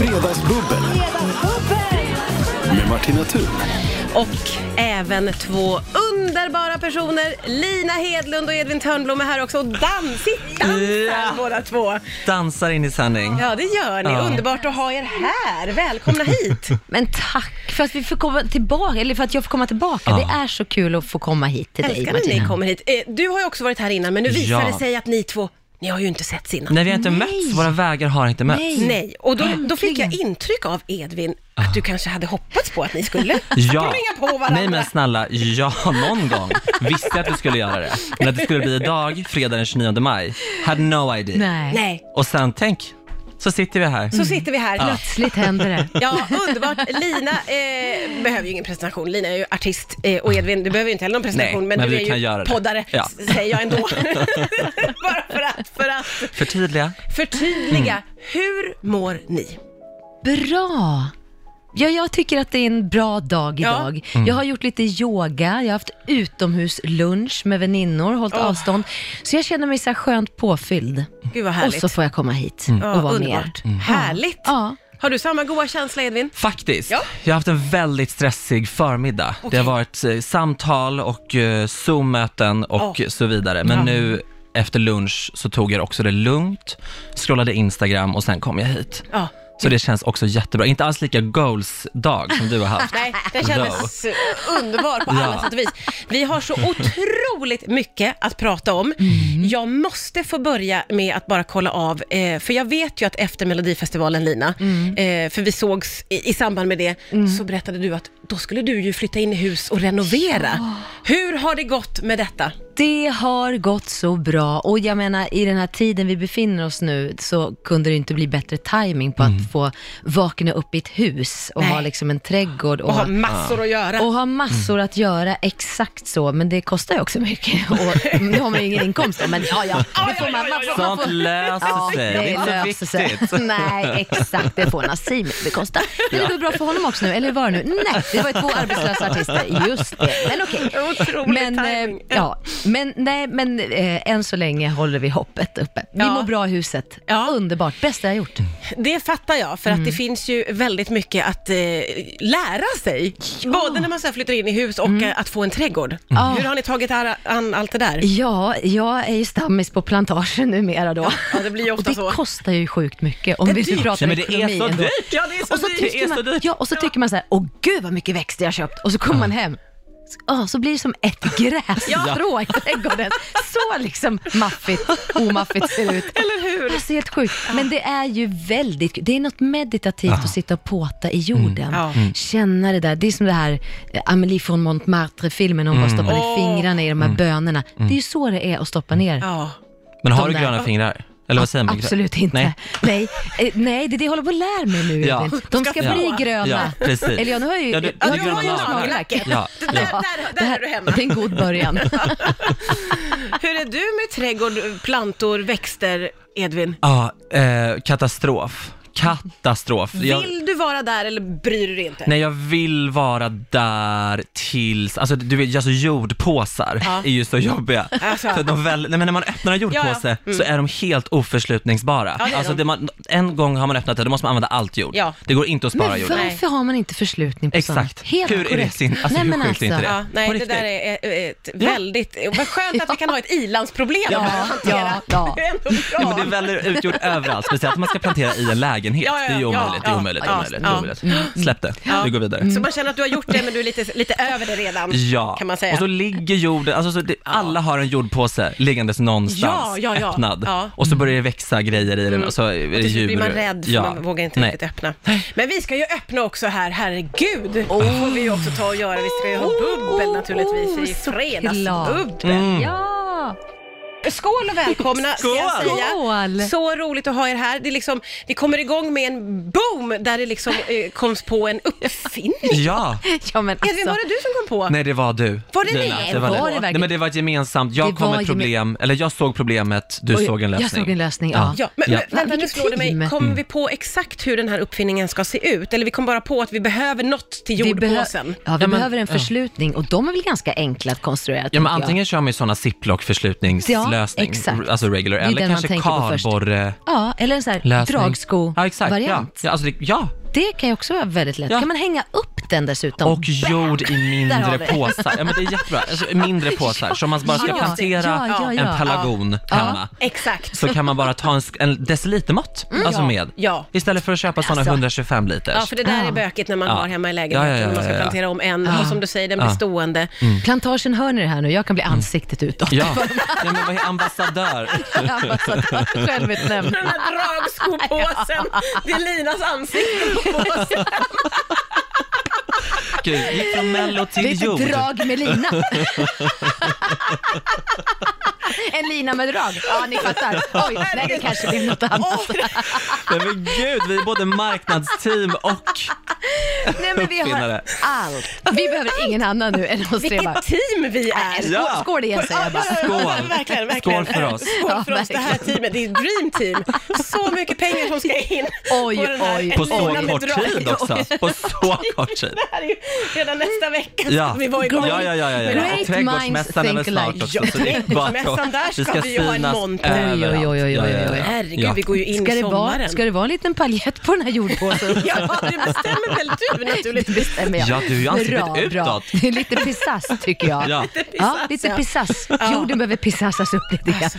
Fredagsbubbel med Martina Thun. Och även två underbara personer. Lina Hedlund och Edvin Törnblom är här också och dansigt dansar Ja. båda två. Dansar in i sändning. Ja, det gör ni. Ja. Underbart att ha er här. Välkomna hit. Men tack för att vi får komma tillbaka, eller för att jag får komma tillbaka. Ja. Det är så kul att få komma hit till dig Älskar när ni Martina. kommer hit. Eh, Du har ju också varit här innan, men nu visar Ja. det sig att ni två, ni har ju inte setts innan. Nej, vi har inte mötts. Våra vägar har inte mötts. Nej. Nej, och då, då fick jag intryck av Edvin att du kanske hade hoppats på att ni skulle springa på varandra. Ah. Nej men snälla, ja någon gång visste jag att vi skulle göra det. Men att det skulle bli idag, fredag den 29 maj, had no idea. Nej. Nej, Och sen tänk, så sitter vi här. så sitter vi här. Ah. Plötsligt händer det. Ja, underbart. Lina eh, behöver ju ingen presentation. Lina är ju artist eh, och Edvin, du behöver ju inte heller någon presentation, Nej, men, men du vi är kan ju göra det. poddare, Ja. s- säger jag ändå. Bara för att, för att Förtydliga. förtydliga. Mm. Hur mår ni? Bra! Ja, jag tycker att det är en bra dag Ja. idag. Jag har gjort lite yoga, jag har haft utomhuslunch med väninnor, hållit Åh. avstånd. Så jag känner mig så här skönt påfylld. Gud vad Och härligt. så får jag komma hit ja, och vara med er. underbart. Mm. Härligt. Ja. Har du samma goda känsla Edvin? Faktiskt. Ja. Jag har haft en väldigt stressig förmiddag. Det Okej. har varit eh, samtal och eh, Zoom-möten och Ja. så vidare. Men nu efter lunch så tog jag också det lugnt, scrollade Instagram och sen kom jag hit. Ja. Så det känns också jättebra. Inte alls lika goals-dag som du har haft. Nej, den kändes underbar på alla Ja. sätt och vis. Vi har så otroligt mycket att prata om. Jag måste få börja med att bara kolla av, eh, för jag vet ju att efter Melodifestivalen, Lina, eh, för vi sågs i, i samband med det, så berättade du att då skulle du ju flytta in i hus och renovera. Hur har det gått med detta? Det har gått så bra och jag menar i den här tiden vi befinner oss nu så kunde det inte bli bättre timing på Mm. att få vakna upp i ett hus och Nej. ha liksom en trädgård och, Och har massor att göra. och ha massor Mm. att göra, exakt så, men det kostar ju också mycket och nu har man ju ingen inkomst då, men ja, ja, det får man, man, får, man Sånt får, löser sig. Det är inte löser så sig. viktigt. Nej, exakt. Det får Nassim bekosta. Men det går bra för honom också nu, eller hur var det nu? Nej, det var ju två arbetslösa artister. Just det, men okej. Otrolig Men, eh, timing. ja, men, nej, men eh, än så länge håller vi hoppet uppe. Vi Ja. mår bra i huset. Ja. Underbart. Bästa jag gjort. Det fattar jag, för att det finns ju väldigt mycket att eh, lära sig. Både när man så här flyttar in i hus och eh, att få en trädgård. Ja. Hur har ni tagit ar- an allt det där? Ja, jag är ju stammis på plantagen numera då. Ja, det blir ju Och ofta det så. kostar ju sjukt mycket om Det är vi dyrt. nu pratar Nej, men det ekonomi är så ändå. dyrt. Ja, Alltså, det är så Och dyrt. så, tycker man, ja, och så tycker man så här, åh gud vad mycket växter jag har köpt. Och så kommer man hem, oh, så blir det som ett grässtrå i trädgården. Så liksom maffigt, omaffigt ser det ut. Eller hur? Alltså helt sjukt. Men det är ju väldigt, det är något meditativt att sitta och påta i jorden. Ja. Känna det där, det är som det här eh, Amélie från Montmartre-filmen, hon bara stoppade Åh. fingrarna i de här bönorna. Det är ju så det är att stoppa ner. Ja. Men har De du där. gröna fingrar? Eller vad säger man? Absolut inte. Nej. Nej, nej. Eh, nej det är det jag håller på att lära mig nu. Ja. Edvin. De ska Ska bli få. gröna. Ja, precis. Eller ja, nu har jag ju, Ja, du- du jag har gröna ju naglar. nagellack. Ja, Det Där, ja. där, Det där här- är du hemma. Det är en god början. Hur är du med trädgård, plantor, växter, Edvin? Ja, eh, katastrof. Katastrof. Jag, Vill du vara där eller bryr du dig inte? nej, jag vill vara där tills, alltså du vet, alltså jordpåsar Ja. är ju så jobbiga. Alltså. För att de väl, nej, men när man öppnar en jordpåse Ja, ja. så är de helt oförslutningsbara. Ja, det är alltså, de. det man, en gång har man öppnat det, då måste man använda allt jord. Ja. Det går inte att Men spara jord. Nej. varför har man inte förslutning på Exakt. sånt? Helt hur är det korrekt. sin, alltså, Nej, hur men sjukt är alltså. inte det? Ja, nej, På det riktigt. där är eh, ett väldigt... Vad skönt att vi kan ha ett i-landsproblem Ja, att hantera. ja, ja. Det är ändå bra. Ja, men det väller utgjort överallt, speciellt om man ska plantera i en lägenhet. Ja, ja, det är ju ja, omöjligt, det är ja, omöjligt, ja, omöjligt, ja. omöjligt. Släpp det, vi går vidare. Så man känner att du har gjort det, men du är lite, lite över det redan, Ja, kan man säga. och så ligger jorden, alltså så det, alla har en jordpåse liggandes någonstans, Ja, ja, ja. öppnad. Ja. Mm. Och så börjar det växa grejer i den och så är det Till djur. slut blir man rädd för Ja. man vågar inte Nej. riktigt öppna. Men vi ska ju öppna också här, herregud! Oh. Det får vi ju också ta och göra. Vi ska ju ha Oh. bubbel naturligtvis. Vi är såklart. fredagsbubbel. Mm. Ja, Skål och välkomna ska jag Skål! säga. Skål! Så roligt att ha er här. Det är liksom, vi kommer igång med en boom där det liksom eh, koms på en uppfinning. Ja, ja men alltså. Edvin, var det du som kom på? nej det var du. Var det Lina, vi? Nej, var det verkligen? Nej men det var ett gemensamt, jag Det kom var med gemen- problem, eller jag såg problemet, du Oj, såg en jag lösning. såg en lösning, ja. Ja, men, Ja. Mm. men vänta nu Vilket slår det mig. team. Kommer vi på exakt hur den här uppfinningen ska se ut? Eller vi kom bara på att vi behöver något till Vi, behö- jordpåsen? ja, vi Ja, men- behöver en förslutning och de är väl ganska enkla att konstruera? Ja tycker men jag. antingen kör man ju sådana ziplock förslutningslösningar lösning. exakt. Alltså regular. Det är Eller den man kanske tänker på först. kardborre Ja, eller en så här lösning. Ja, exakt. dragsko-variant. Ja. Ja, alltså det, ja. Det kan ju också vara väldigt lätt. Ja. Kan man hänga upp den dessutom? Och jord i Där har mindre vi. påsar. Ja, men det är jättebra. Alltså, mindre påsar. Så om man bara ska Ja, plantera ja, ja, ja. en pelargon hemma. Exakt. Så kan man bara ta en, sk- en decilitermått alltså Ja, med. ja. Istället för att köpa sådana Mm, Alltså. 125 liters. Ja, för det där Ja. är bökigt när man Ja. har hemma i lägenheten Ja, ja, ja, och man ska ja, Mm. ja. plantera om en och som du säger, den blir stående. Plantagen, hör ni det här nu? Jag kan bli ansiktet utåt. Ja, Nej, men vad är ambassadör? Ambassadör, självutnämnd. Den här dragskopåsen, det är Linas ansikte på påsen. Gud, gick från mello Det till är jord. ett drag med lina. en lina med drag. Ja, ni fattar. Oj, nej, det kanske blir något annat. Nej, men gud, vi är både marknadsteam och... nej, men vi har uppfinnare. allt. Vi behöver ingen annan nu än oss tre. bara. Vilket team vi är! Nej, Ja. Skål, skål igen säger jag bara. Skål. Verkligen, verkligen. Skål för oss. Skål för Ja, oss, det här verkligen. teamet. Det är ett dream team. Så mycket pengar som ska in Oj, på den här oj, På så enorma kort drag. tid också. På så kort tid. Det här är ju redan nästa vecka ska Ja, vi vara igång. ja, ja, ja, ja. med det här. Great Och trädgårdsmässan är väl minds think snart alike. också. så Ja, det är bara- trädgårdsmässan, där ska vi ju ha en synas monter. överallt. Oj, oj, oj, Ja, oj, ja, ja. oj. Herregud, Ja. vi går ju in Ska i det, vara, sommaren. ska det vara en liten paljett på den här jordpåsen? Ja, det bestämmer väl du Det naturligtvis. bestämmer jag. Ja, du är ju ansiktet Bra, bra. utåt. Det är lite pissass tycker jag. Ja. Ja, lite pissass. Jorden behöver pissassas upp lite grann.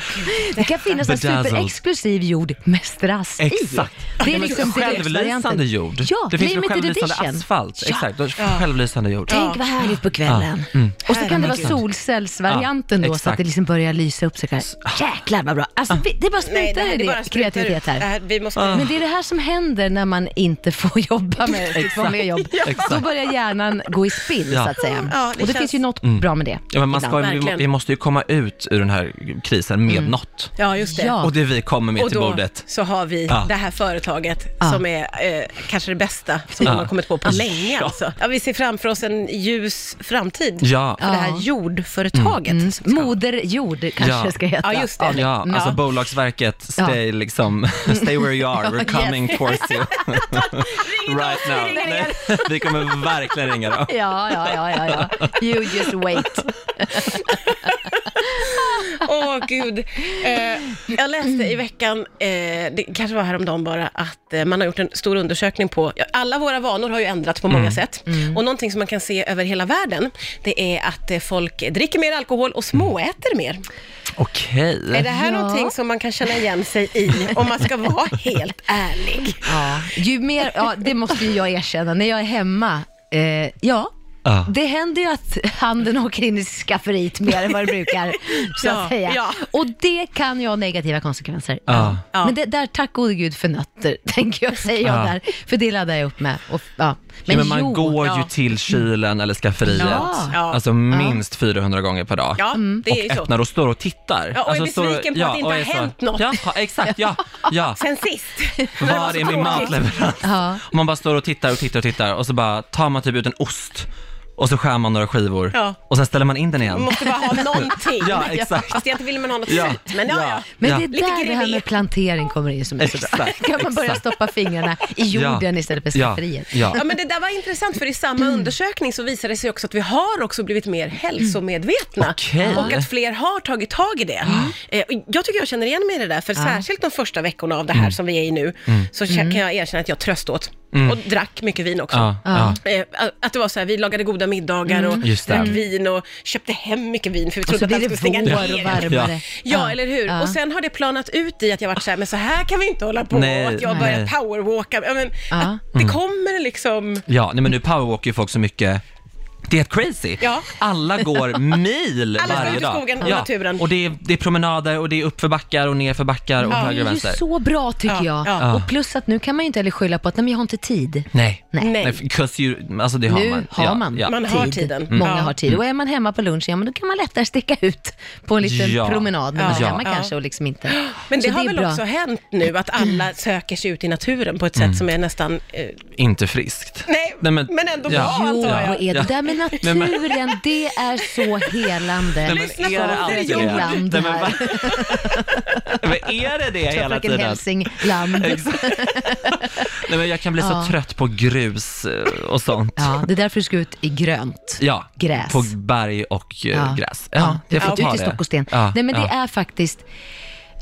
Det kan finnas en Bedazzled. superexklusiv jord med strass Exakt. i. Det Ja, är men liksom självlysande direktvarianten. jord. Ja, det finns ju limited självlysande edition. asfalt. Ja. Exakt, och självlysande jord. Tänk vad härligt på kvällen. Och så kan det vara Herregud. solcellsvarianten Mm. Ja, då, så att exakt. det liksom börjar lysa upp. Så kan... Jäklar vad bra. Alltså, vi- det bara Nej, sprutar det här, det bara i sprutar kreativitet ut. Äh. Det här. här. Vi måste... Men det är det här som händer när man inte får jobba med sitt Exakt. vanliga jobb. Exakt. Då börjar hjärnan gå i spill Ja. Mm. så att säga. Ja, det och det känns- finns ju något bra med det. Ja, men man ska, ibland. ju- vi, Verkligen. vi måste ju komma ut ur den här krisen med något. Ja, just det. Mm. Ja. Och det vi kommer med Och till då bordet. så har vi Ja. det här företaget Ja. som är eh, kanske det bästa som Ja. någon har kommit på på länge. Ja. Alltså. Ja, vi ser framför oss en ljus framtid Ja. för det här jordföretaget. som ska- Mm. Moder jord kanske Ja. ska heta. Ja, just det. Ja, alltså Ja. Bolagsverket, stay, liksom, stay where you are, we're Ja, coming towards you. right now. Nej, vi kommer verkligen ringa då. Ja, ja, ja, ja, ja. You just wait. Åh gud. Eh, jag läste i veckan, eh, det kanske var häromdagen bara, att eh, man har gjort en stor undersökning på, ja, alla våra vanor har ju ändrats på många Mm. sätt. Och någonting som man kan se över hela världen, det är att eh, folk dricker mer alkohol och småäter mer. Okej. Är det här Ja. någonting som man kan känna igen sig i, om man ska vara helt ärlig? Ja, ju mer, ja, det måste ju jag erkänna. När jag är hemma, eh, ja, Ja. det händer ju att handen åker in i skafferiet mer än vad det brukar, så att Ja, säga. ja. Och det kan ju ha negativa konsekvenser. Ja. Ja. Men det, där, tack gode gud för nötter, tänker jag, säger jag Ja. där. För det laddar jag upp med. Och, ja. Men, men man jo, går ju ja. till kylen eller skafferiet, Ja. Ja. alltså minst 400 gånger per dag. Ja, det är ju Mm. och så. öppnar och står och tittar. Alltså, Ja, och är står besviken på att det inte och har är så- hänt något. Ja, ha- exakt, ja. ja. Sen sist. Var är min matleverans? Ja. Och Man bara står och tittar och tittar och tittar och så bara tar man typ ut en ost och så skär man några skivor Ja. och sen ställer man in den igen. Man måste bara ha någonting. Ja, exakt. Fast egentligen vill man ha något Ja. sött, men ja, ja. Men Ja. det är Lite där det här grevé. med plantering kommer in som är så bra. Exakt, kan man börja stoppa fingrarna i jorden istället för ja. skafferiet. Ja. Ja, men det där var intressant, för i Mm. samma undersökning så visade det sig också att vi har också blivit mer hälsomedvetna. Okej. Och att fler har tagit tag i det. Ah. Eh, och jag tycker jag känner igen mig i det där, för särskilt de första veckorna av det här Mm. som vi är i nu, så kä- kan jag erkänna att jag tröst åt. Och drack mycket vin också. Ah, Ja. Ja. Eh, Att det var så här, vi lagade goda middagar och Just det. drack vin och köpte hem mycket vin för vi Mm. Och trodde så att blir allt det skulle stänga vår och ner. varmare. Ja, eller hur? Ja. Och sen har det planat ut i att jag varit så här, men så här kan vi inte hålla på. Nej, och att jag nej. börjar powerwalka. Ja, Men, Ja. att Det Mm. kommer liksom... ja, nej men nu powerwalkar ju folk så mycket det är helt crazy. Ja. Alla går mil Alla ska varje ut i dag. skogen och ja. naturen. Och det är, det är promenader och det är uppför backar och nerför backar och Det höger och är ju vänster. så bra tycker Ja, jag. ja. Och plus att nu kan man ju inte heller skylla på att nej, men jag har inte tid. Nej. Nej. Nej. Nej, för- 'cause you, alltså det har Nu man. har ja, man, Ja. Man har tiden. Mm. Många Ja. har tid. Och är man hemma på lunchen, ja men då kan man lättare sticka ut på en liten Ja. promenad när man är Ja. hemma Ja. kanske och liksom inte. Men det, Så har är väl bra. Mm. också hänt nu att alla söker sig ut i Mm. naturen på ett sätt som är nästan... Eh, Inte friskt. nej, men, ändå bra Ja. Jo, antar vad jag. är det Ja. där med men naturen, det är så helande. Nej, men Lyssna är på det vad alltid Fredrik det? Land Nej, men, här. va? men är det det hela Fröken tiden? Hälsingland. Nej, men jag kan bli så Ja. trött på grus eh, och sånt. Ja, det är därför du ska ut i grönt. Ja, Gräs. på berg och eh, gräs. Ja, jag får ut, ta ut i det. stock och sten. Ja, Nej men det ja. Mm. är faktiskt,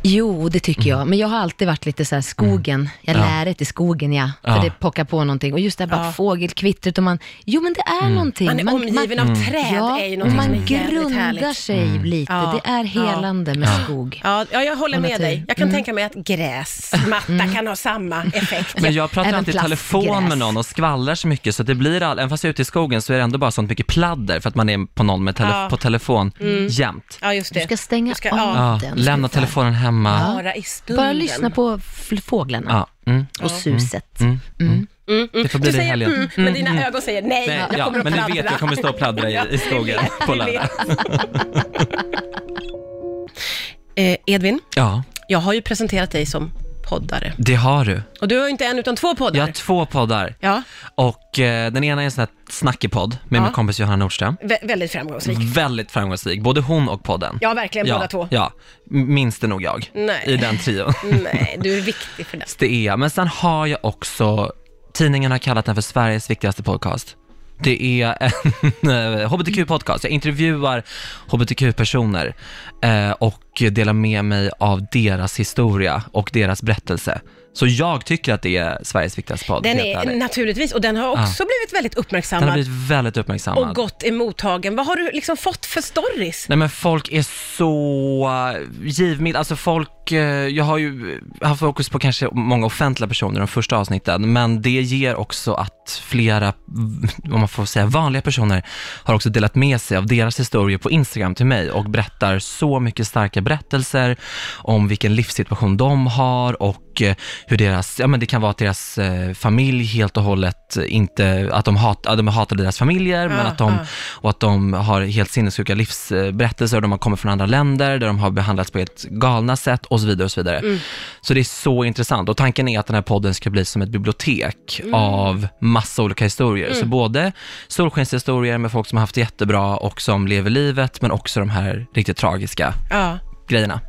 jo det tycker jag, men jag har alltid varit lite så här skogen, jag lär det i skogen ja, för Ja. det pockar på någonting. Och just det här bara Ja. fågelkvittret och man, jo men det är Mm. någonting. Man är omgiven av träd, ja, är ju och någonting som man är jävligt grundar härligt. sig Mm. lite, Ja. det är helande med skog. Ja, ja, jag håller Och med natur. Mm. dig. Jag kan tänka mig att gräs, matta kan ha samma effekt. Men jag pratar Även alltid i plast, telefon gräs. med någon och skvallrar så mycket så det blir all, även fast jag är ute i skogen så är det ändå bara sånt mycket pladder för att man är på någon med tele, Ja. Mm. på telefon jämt. Ja, just det. Du ska stänga Du ska- av ja. Ja, den. lämna telefonen hemma. Bara i stunden. Bara lyssna på f- fåglarna Ja. Mm. och suset. Det Du får bli det i säger helgen. mm, men dina ögon säger nej, Nej, jag ja, kommer att men du pladdra. vet, jag kommer stå och pladdra i, i skogen på lördag. Eh, Edvin, Ja, jag har ju presenterat dig som poddare. det har du. Och du har ju inte en utan två poddar. Jag har två poddar. Ja, Och eh, den ena är en sån här snackepodd med Ja. min kompis Johanna Nordström. vä- väldigt framgångsrik. Väldigt framgångsrik, både hon och podden. Ja, verkligen ja, båda två. Ja, minns det nog jag Nej. i den trion. Nej, du är viktig för det. Det är jag. Men sen har jag också, tidningen har kallat den för Sveriges viktigaste podcast. Det är en eh, hbtq-podcast. Jag intervjuar hbtq-personer eh, och delar med mig av deras historia och deras berättelse. Så jag tycker att det är Sveriges viktigaste podd. Den helt är ärligt. naturligtvis, och den har också blivit väldigt den har uppmärksammad blivit väldigt uppmärksammad. och gott emottagen. Vad har du liksom fått för stories? Nej men folk är så eh, givmilda, alltså folk, eh, jag har ju haft fokus på kanske många offentliga personer de första avsnitten, men det ger också att flera, om man får säga vanliga personer, har också delat med sig av deras historier på Instagram till mig och berättar så mycket starka berättelser om vilken livssituation de har och eh, hur deras, ja men det kan vara att deras eh, familj helt och hållet eh, inte, att de, hat, att de hatar deras familjer, men Ja, att de ja. och att de har helt sinnessjuka livsberättelser och de har kommit från andra länder där de har behandlats på helt galna sätt och så vidare. och Så vidare. Mm. Så det är så intressant och tanken är att den här podden ska bli som ett bibliotek Mm. av massa olika historier. Så både solskenshistorier med folk som har haft det jättebra och som lever livet, men också de här riktigt tragiska Ja. grejerna.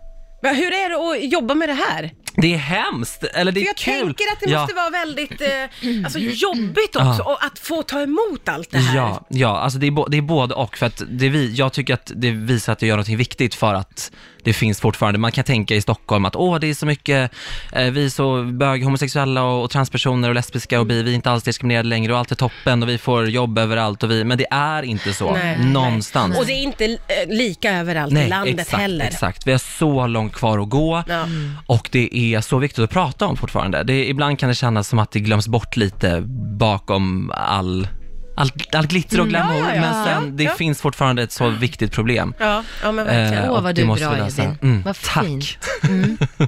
Men Hur är det att jobba med det här? Det är hemskt, eller det är För jag kul. tänker att det Ja. måste vara väldigt eh, alltså, jobbigt också, och att få ta emot allt det här. Ja, ja alltså det, är bo- det är både och. För att det vi, jag tycker att det visar att jag gör något viktigt för att det finns fortfarande, man kan tänka i Stockholm att åh det är så mycket, eh, vi är så bög, homosexuella och, och transpersoner och lesbiska och bi, vi är inte alls diskriminerade längre och allt är toppen och vi får jobb överallt och vi, men det är inte så Nej. någonstans. Och det är inte eh, lika överallt i landet exakt, heller. exakt. Vi har så långt kvar att gå Ja. och det är så viktigt att prata om fortfarande. Det, ibland kan det kännas som att det glöms bort lite bakom all, all, all glitter och glamour, Mm, ja, ja. men sen, Ja, det ja. finns fortfarande ett så viktigt problem. Ja, ja, men verkligen. Eh, Åh, och vad det du är måste bra, vi lösa. Edvin. Vad tack. fint.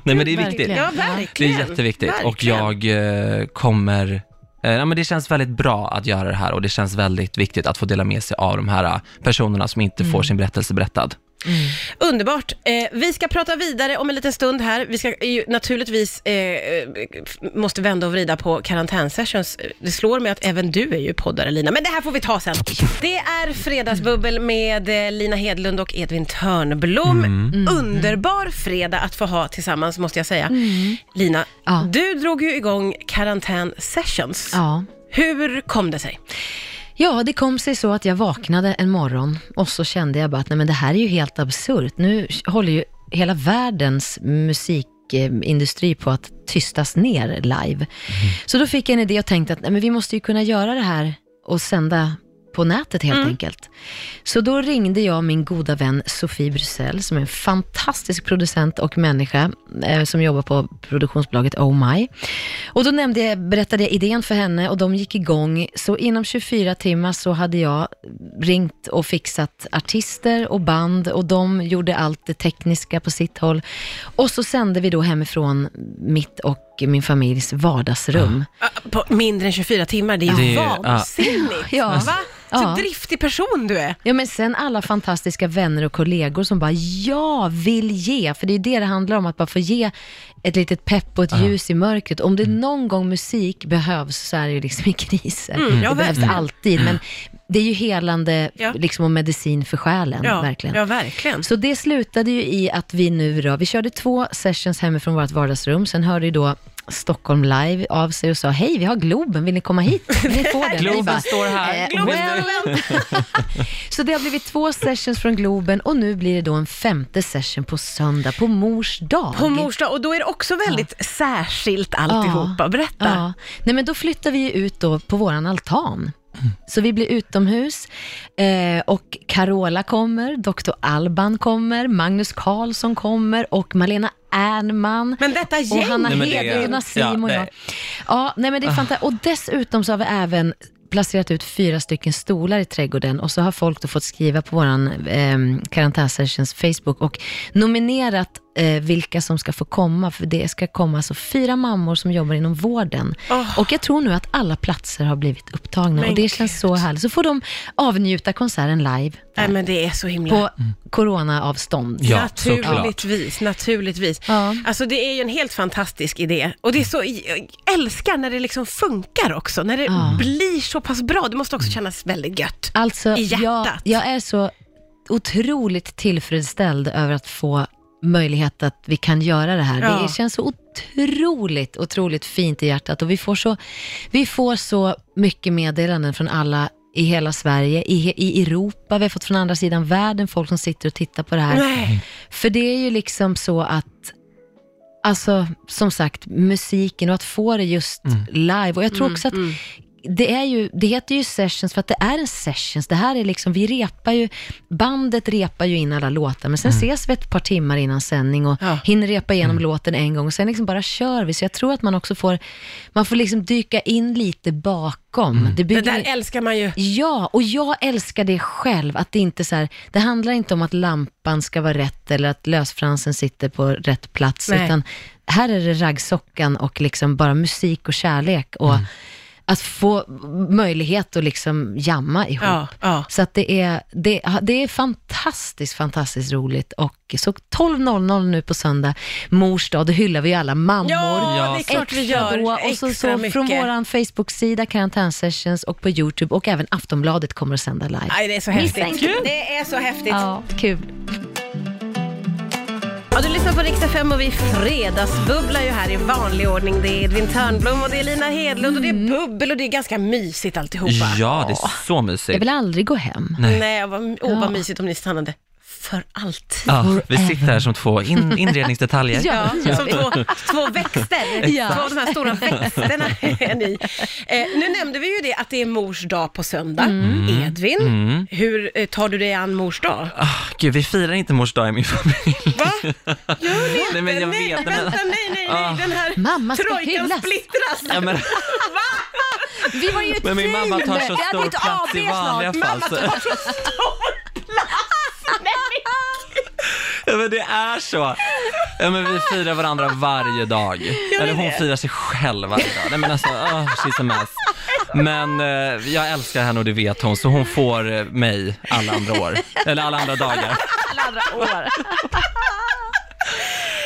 Nej, men det är viktigt. Verkligen. ja, Det Det verkligen. är jätteviktigt och Verkligen. jag eh, kommer eh, Ja, men det känns väldigt bra att göra det här och det känns väldigt viktigt att få dela med sig av de här eh, personerna som inte Mm. får sin berättelse berättad. Underbart. Eh, vi ska prata vidare om en liten stund här. Vi ska ju naturligtvis eh, f- måste vända och vrida på karantänsessions. Det slår mig att även du är ju poddare Lina, men det här får vi ta sen. Det är Fredagsbubbel med eh, Lina Hedlund och Edvin Törnblom. Mm. Underbar fredag att få ha tillsammans måste jag säga. Lina, Mm. Ja. du drog ju igång karantän sessions. Ja. Hur kom det sig? Ja, det kom sig så att jag vaknade en morgon och så kände jag bara att nej, men det här är ju helt absurt. Nu håller ju hela världens musikindustri på att tystas ner live. Så då fick jag en idé och tänkte att nej, men vi måste ju kunna göra det här och sända på nätet helt enkelt. Så då ringde jag min goda vän Sofie Brusell, som är en fantastisk producent och människa, eh, som jobbar på produktionsbolaget Oh My. Och då nämnde jag, berättade jag idén för henne och de gick igång. Så inom 24 timmar så hade jag ringt och fixat artister och band och de gjorde allt det tekniska på sitt håll. Och så sände vi då hemifrån mitt och min familjs vardagsrum. Ah, På mindre än 24 timmar, det är Det är- ju ja. vansinnigt. Ja. Va? Så Ja. driftig person du är. Ja, men sen alla fantastiska vänner och kollegor som bara, jag vill ge, för det är det det handlar om, att bara få ge ett litet pepp och ett ljus i mörkret. Mm. Om det någon gång musik behövs så är det ju liksom i kriser. Mm, ja, det behövs verkligen. alltid, men det är ju helande Ja. liksom, och medicin för själen, Ja, Mm, verkligen. ja, verkligen. Så det slutade ju i att vi nu då, vi körde två sessions hemifrån vårt vardagsrum, sen hörde ju då Stockholm Live av sig och sa, hej vi har Globen, vill ni komma hit? Ni får den. Globen Vi bara, står här. "Eh, Globen well." Så det har blivit två sessions från Globen och nu blir det då en femte session på söndag, på mors dag. På mors dag, och då är det också väldigt särskilt alltihopa. Berätta. Ja. Nej, men då flyttar vi ut då på våran altan. Så vi blir utomhus eh, och Carola kommer, Dr. Alban kommer, Magnus Carlsson kommer och Malena Ernman. Men detta Och gäng! Hanna Nej, men det- Hedlund, Nassim ja, och jag. nej. Ja, nej men det är Ah. fantastiskt. Och dessutom så har vi även placerat ut fyra stycken stolar i trädgården och så har folk då fått skriva på vår eh, karantänsessions Facebook och nominerat eh, vilka som ska få komma, för det ska komma alltså fyra mammor som jobbar inom vården. Åh. Och jag tror nu att alla platser har blivit upptagna Ah. Men och det känns gud. så härligt. Så får de avnjuta konserten live Nej men det är så himla... på coronaavstånd. Ja, såklart. naturligtvis, naturligtvis. Ja. Alltså det är ju en helt fantastisk idé. Och det är så, jag älskar när det liksom funkar också, när det Ja. Mm. blir så pass bra. Det måste också kännas väldigt gött. Alltså, I hjärtat. jag, jag är så otroligt tillfredsställd över att få möjlighet att vi kan göra det här. Ja. Det känns så otroligt, otroligt fint i hjärtat och vi får så, vi får så mycket meddelanden från alla i hela Sverige, i, he- i Europa, vi har fått från andra sidan världen folk som sitter och tittar på det här. Nej. För det är ju liksom så att, alltså som sagt, musiken och att få det just live. Och jag Mm. tror också att det, är ju, det heter ju sessions för att det är en sessions. Det här är liksom, vi repar ju, bandet repar ju in alla låtar, men sen ses vi ett par timmar innan sändning och Mm. Ja. Mm. hinner repa igenom låten en gång och sen liksom bara kör vi. Så jag tror att man också får, man får liksom dyka in lite bakom. Det Mm. Det bygger där älskar man ju. Ja, och jag älskar det själv. Att det inte så här, det handlar inte om att lampan ska vara rätt eller att lösfransen sitter på rätt plats. Nej. Utan här är det raggsockan och liksom bara musik och kärlek. Mm. Och att få möjlighet att liksom jamma ihop. Ja, ja. Så att det är, det, det är fantastiskt, fantastiskt roligt. Och så 12.00 nu på söndag, mors dag, då hyllar vi ju alla mammor. Ja, det är Ja, klart vi gör. Då, och Extra så, så mycket. från vår Facebook-sida, Karantän Sessions och på YouTube och även Aftonbladet kommer att sända live. Nej, det är så häftigt. Det är så häftigt. Ja, kul. Ja, du lyssnar på Riksdag 5 och vi fredagsbubblar ju här i vanlig ordning. Det är Edvin Törnblom och det är Lina Hedlund och det är bubbel och det är ganska mysigt alltihopa. Ja, det är så mysigt. Jag vill aldrig gå hem. Nej, vad, åh, vad mysigt om ni stannade för alltid. Ja, Ah, vi sitter här som två in, inredningsdetaljer. Ja, Ja, som två, två växter. Ja. Två av de här stora växterna är ni. Eh, nu nämnde vi ju det att det är mors dag på söndag. Edvin, hur eh, tar du dig an mors dag? Ah, Gud, vi firar inte mors dag i min familj. Va? Gör ni inte? Nej, men jag vet, men- vänta, nej, nej, nej, den här Mamma ska trojkan hyllas. splittras. Ja, men, Vi var ju ett men min mamma tar så team. Jag stor hade ett plats i AB snart. vanliga fall. Mamma Så, tar så stor plats. Nej, ja, men det är så. Ja, men vi firar varandra varje dag. Eller hon firar sig själv varje dag. Nej, men alltså, oh, she's a mess. Men eh, jag älskar henne och det vet hon, så hon får eh, mig alla andra år. Eller alla andra dagar. Alla andra år.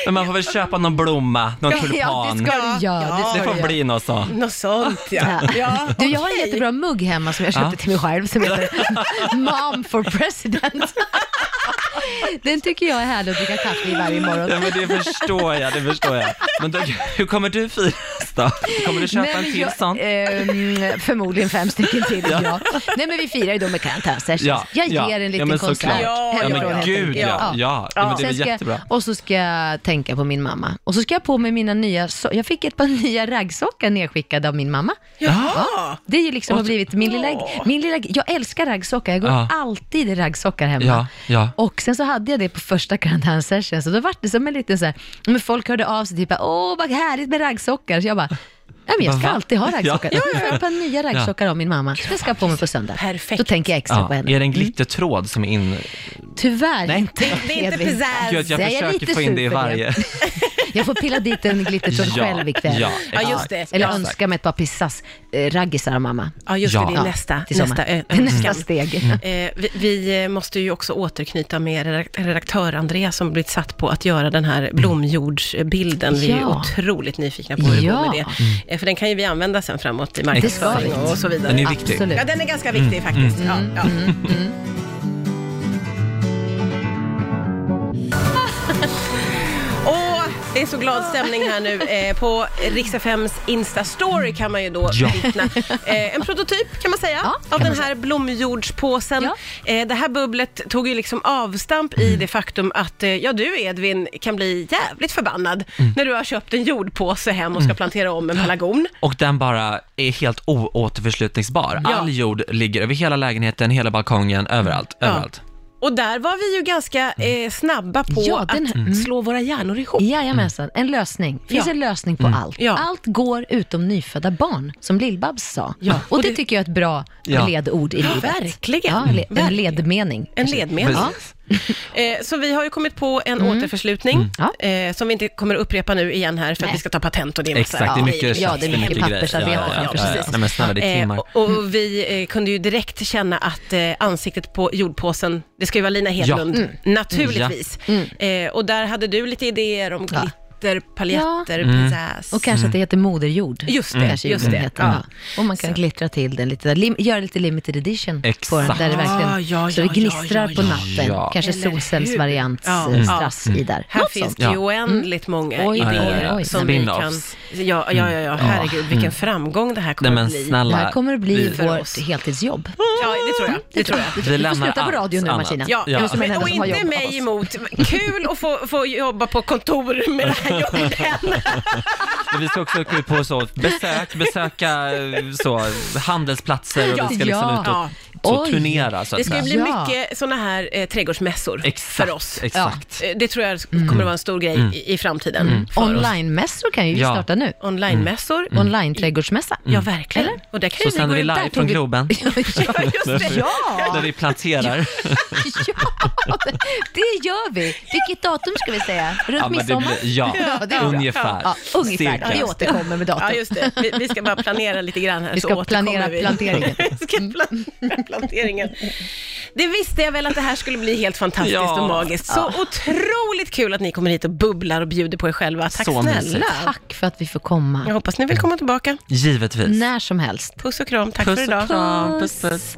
Men man får väl köpa någon blomma, någon Ja, det tulpan. ska du göra. Det ska Det du får göra. bli något så. Något sånt ja. ja Du, jag har en okej. jättebra mugg hemma som jag köpte Ja. till mig själv som heter Mom for President. Den tycker jag är härlig att dricka kaffe i varje morgon. Ja, men det förstår jag, det förstår jag. Men då, hur kommer du firas då? Kommer du köpa Nej, en men till jag- sån? ehm, förmodligen fem stycken till, ja. Nej men vi firar ju då med karantänsessions. Ja, jag ja. ger en Ja, liten men konsert såklart. Ja, hemifrån ja, men helt gud, enkelt. ja. Ja, ja, men det är Sen väl ska jag- jättebra. Och så ska jag tänka på min mamma. Och så ska jag på mig mina nya, so- jag fick ett par nya raggsockar nedskickade av min mamma. Jaha. Det är ju liksom har blivit min lilla, Åh. min lilla, jag älskar raggsockar, jag går Ja. alltid i raggsockar hemma. Ja, ja. Och sen så hade jag det på första karantänsession, så då var det som en liten så här, men folk hörde av sig typ, åh vad härligt med raggsockar, så jag bara, nej men jag ska Va? alltid ha raggsockar. Ja. Jag får ett par nya raggsockar av min mamma, det ska jag ha på mig på söndag. Perfekt. Då tänker jag extra Ja, på är det henne. Mm. en glittertråd som är in... Tyvärr Nej. inte, Det är inte Edvin. pizzazz. Gud, jag jag är försöker lite få in det i sur för varje. Jag får pilla dit en glittertrutt Ja, själv ikväll. ja, Ja, just det. Eller Ja, önska mig ett par pissas eh, raggisar av mamma. Ja, just det, Ja. det är Ja, nästa, till sommar. nästa ö- Det är Mm. nästa önskan. steg. Mm. Eh, vi, vi eh, måste ju också återknyta med redak- redaktör Andrea som blivit satt på att göra den här blomjordsbilden. Vi är ju Mm. Ja. otroligt nyfikna på hur det går Ja. Mm. med det. Eh, För den kan ju vi använda sen framåt i Det marknadsföring ska vi. Mm. och så vidare. Den är viktig. Absolut. Ja, den är ganska viktig Mm. faktiskt. Ja, ja. Åh, Det är så glad stämning här nu. Eh, på Riks-FMs Insta-story kan man ju då Ja. vittna. Eh, en prototyp kan man säga Ja, av kan den man här blomjordspåsen. Eh, det här bubblet tog ju liksom avstamp i Mm. det faktum att eh, ja, du Edvin kan bli jävligt förbannad Mm. när du har köpt en jordpåse hem och ska plantera om en pelargon. Och den bara är helt oåterförslutningsbar. Ja. All jord ligger över hela lägenheten, hela balkongen, överallt. överallt. Och där var vi ju ganska Mm. eh, snabba på Ja, den att här- mm. slå våra hjärnor ihop. Jajamensan, en lösning. finns Ja. Mm. en lösning på allt. Ja. Allt går utom nyfödda barn, som Lill-Babs sa. Ja, Och, och det, det- tycker jag är ett bra Ja. ledord i livet. verkligen. Ja, le- en Verkligen. ledmening. En kanske. ledmening. Ja. Eh, så vi har ju kommit på en Mm. återförslutning Mm. Ja. eh, som vi inte kommer att upprepa nu igen här för att Nej. vi ska ta patent och det är en massa- Exakt, det är Ja. mycket Ja, det är mycket grejer. pappersarbete framför sig. Nej men snälla, det är Eh, timmar. och, och vi eh, kunde ju direkt känna att eh, ansiktet på jordpåsen, det ska ju vara Lina Hedlund, Ja. Mm. naturligtvis. Eh, och där hade du lite idéer om Ja. glitter, paljetter, Mm. pizzazz. Och kanske att det heter moderjord. Mm. Just det, Kanske just jorden det. Heter, Ja. Och man kan glittra till den lite, där. lim, göra lite limited edition på den, Exakt. där det verkligen, Ah, ja, så det ja, gnistrar ja, på ja, natten. ja. Kanske Eller hur? Ja. Mm. solcellsvariantstrass i där. Här Något finns sånt. det ju Ja. Mm. oändligt många Oj, idéer oj, oj, oj. som vi kan... Spin-offs. Ja, ja, ja, ja herregud, vilken framgång det här Mm. kommer Nej men att bli. Det snälla. här kommer att bli för vårt oss. heltidsjobb. Ja, det tror jag. Det tror jag. Vi Du får lämnar sluta på allt radio nu annat. Martina. Ja, Du är Ja. som den Men, enda och som har inte jobb av mig oss. emot. Kul att få, få jobba på kontor med det här jobbet. Men vi ska också åka ut på så besök, besöka eh, så, handelsplatser och vi ska liksom Ja. ut och Ja. så, Oj. turnera så Det att ska ju säga. bli Ja. mycket sådana här eh, trädgårdsmässor Exakt, för oss. exakt. Mm. Eh, Det tror jag Mm. kommer att vara en stor grej i, i framtiden. för oss. Mm. Online-mässor kan ju vi Ja. starta nu. Online-mässor. Online-trädgårdsmässa. Ja, verkligen. Och där kan Mm. Så ju sänder gå vi ut där. live tog från vi- Globen, Ja, just det. där vi planterar. Ja, det- det gör vi. Vilket datum ska vi säga? Runt Ja, men det midsommar? blir, ja, Ja, det är bra. ungefär. Ja, ungefär. Cirka. Vi återkommer med datum. Ja, just det. Vi, vi ska bara planera lite grann här. Vi så ska återkommer planera vi. planteringen. Mm. vi ska planera planteringen. Det visste jag väl att det här skulle bli helt fantastiskt Ja. och magiskt. Så otroligt kul att ni kommer hit och bubblar och bjuder på er själva. Tack Så snälla. mysigt. Tack för att vi får Jag komma. hoppas ni vill komma tillbaka. Givetvis. När som helst. Puss och kram. Tack för Puss idag. och kram, puss puss.